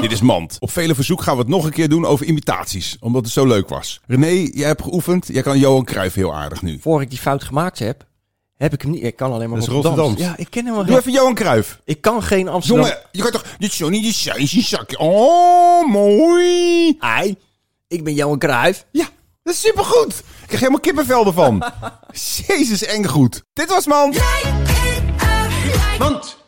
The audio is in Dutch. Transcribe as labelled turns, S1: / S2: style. S1: Dit is Mand. Op vele verzoek gaan we het nog een keer doen over imitaties, omdat het zo leuk was. René, jij hebt geoefend. Jij kan Johan Cruijff heel aardig nu.
S2: Voor ik die fout gemaakt heb, heb ik hem niet. Ik kan alleen maar
S3: Dat is
S2: Rotterdams.
S3: Rotterdams.
S2: Ja, ik ken helemaal
S1: Doe
S2: geen...
S1: even Johan Cruijff.
S2: Ik kan geen Amsterdam...
S1: Jongen, je kan toch... Dit is zo niet je zijs, je zakje. Oh, mooi.
S2: Ai, ik ben Johan Cruijff.
S1: Ja, dat is supergoed. Ik krijg helemaal kippenvel ervan. Jezus, eng goed. Dit was Mand.
S4: Like it or like
S3: Want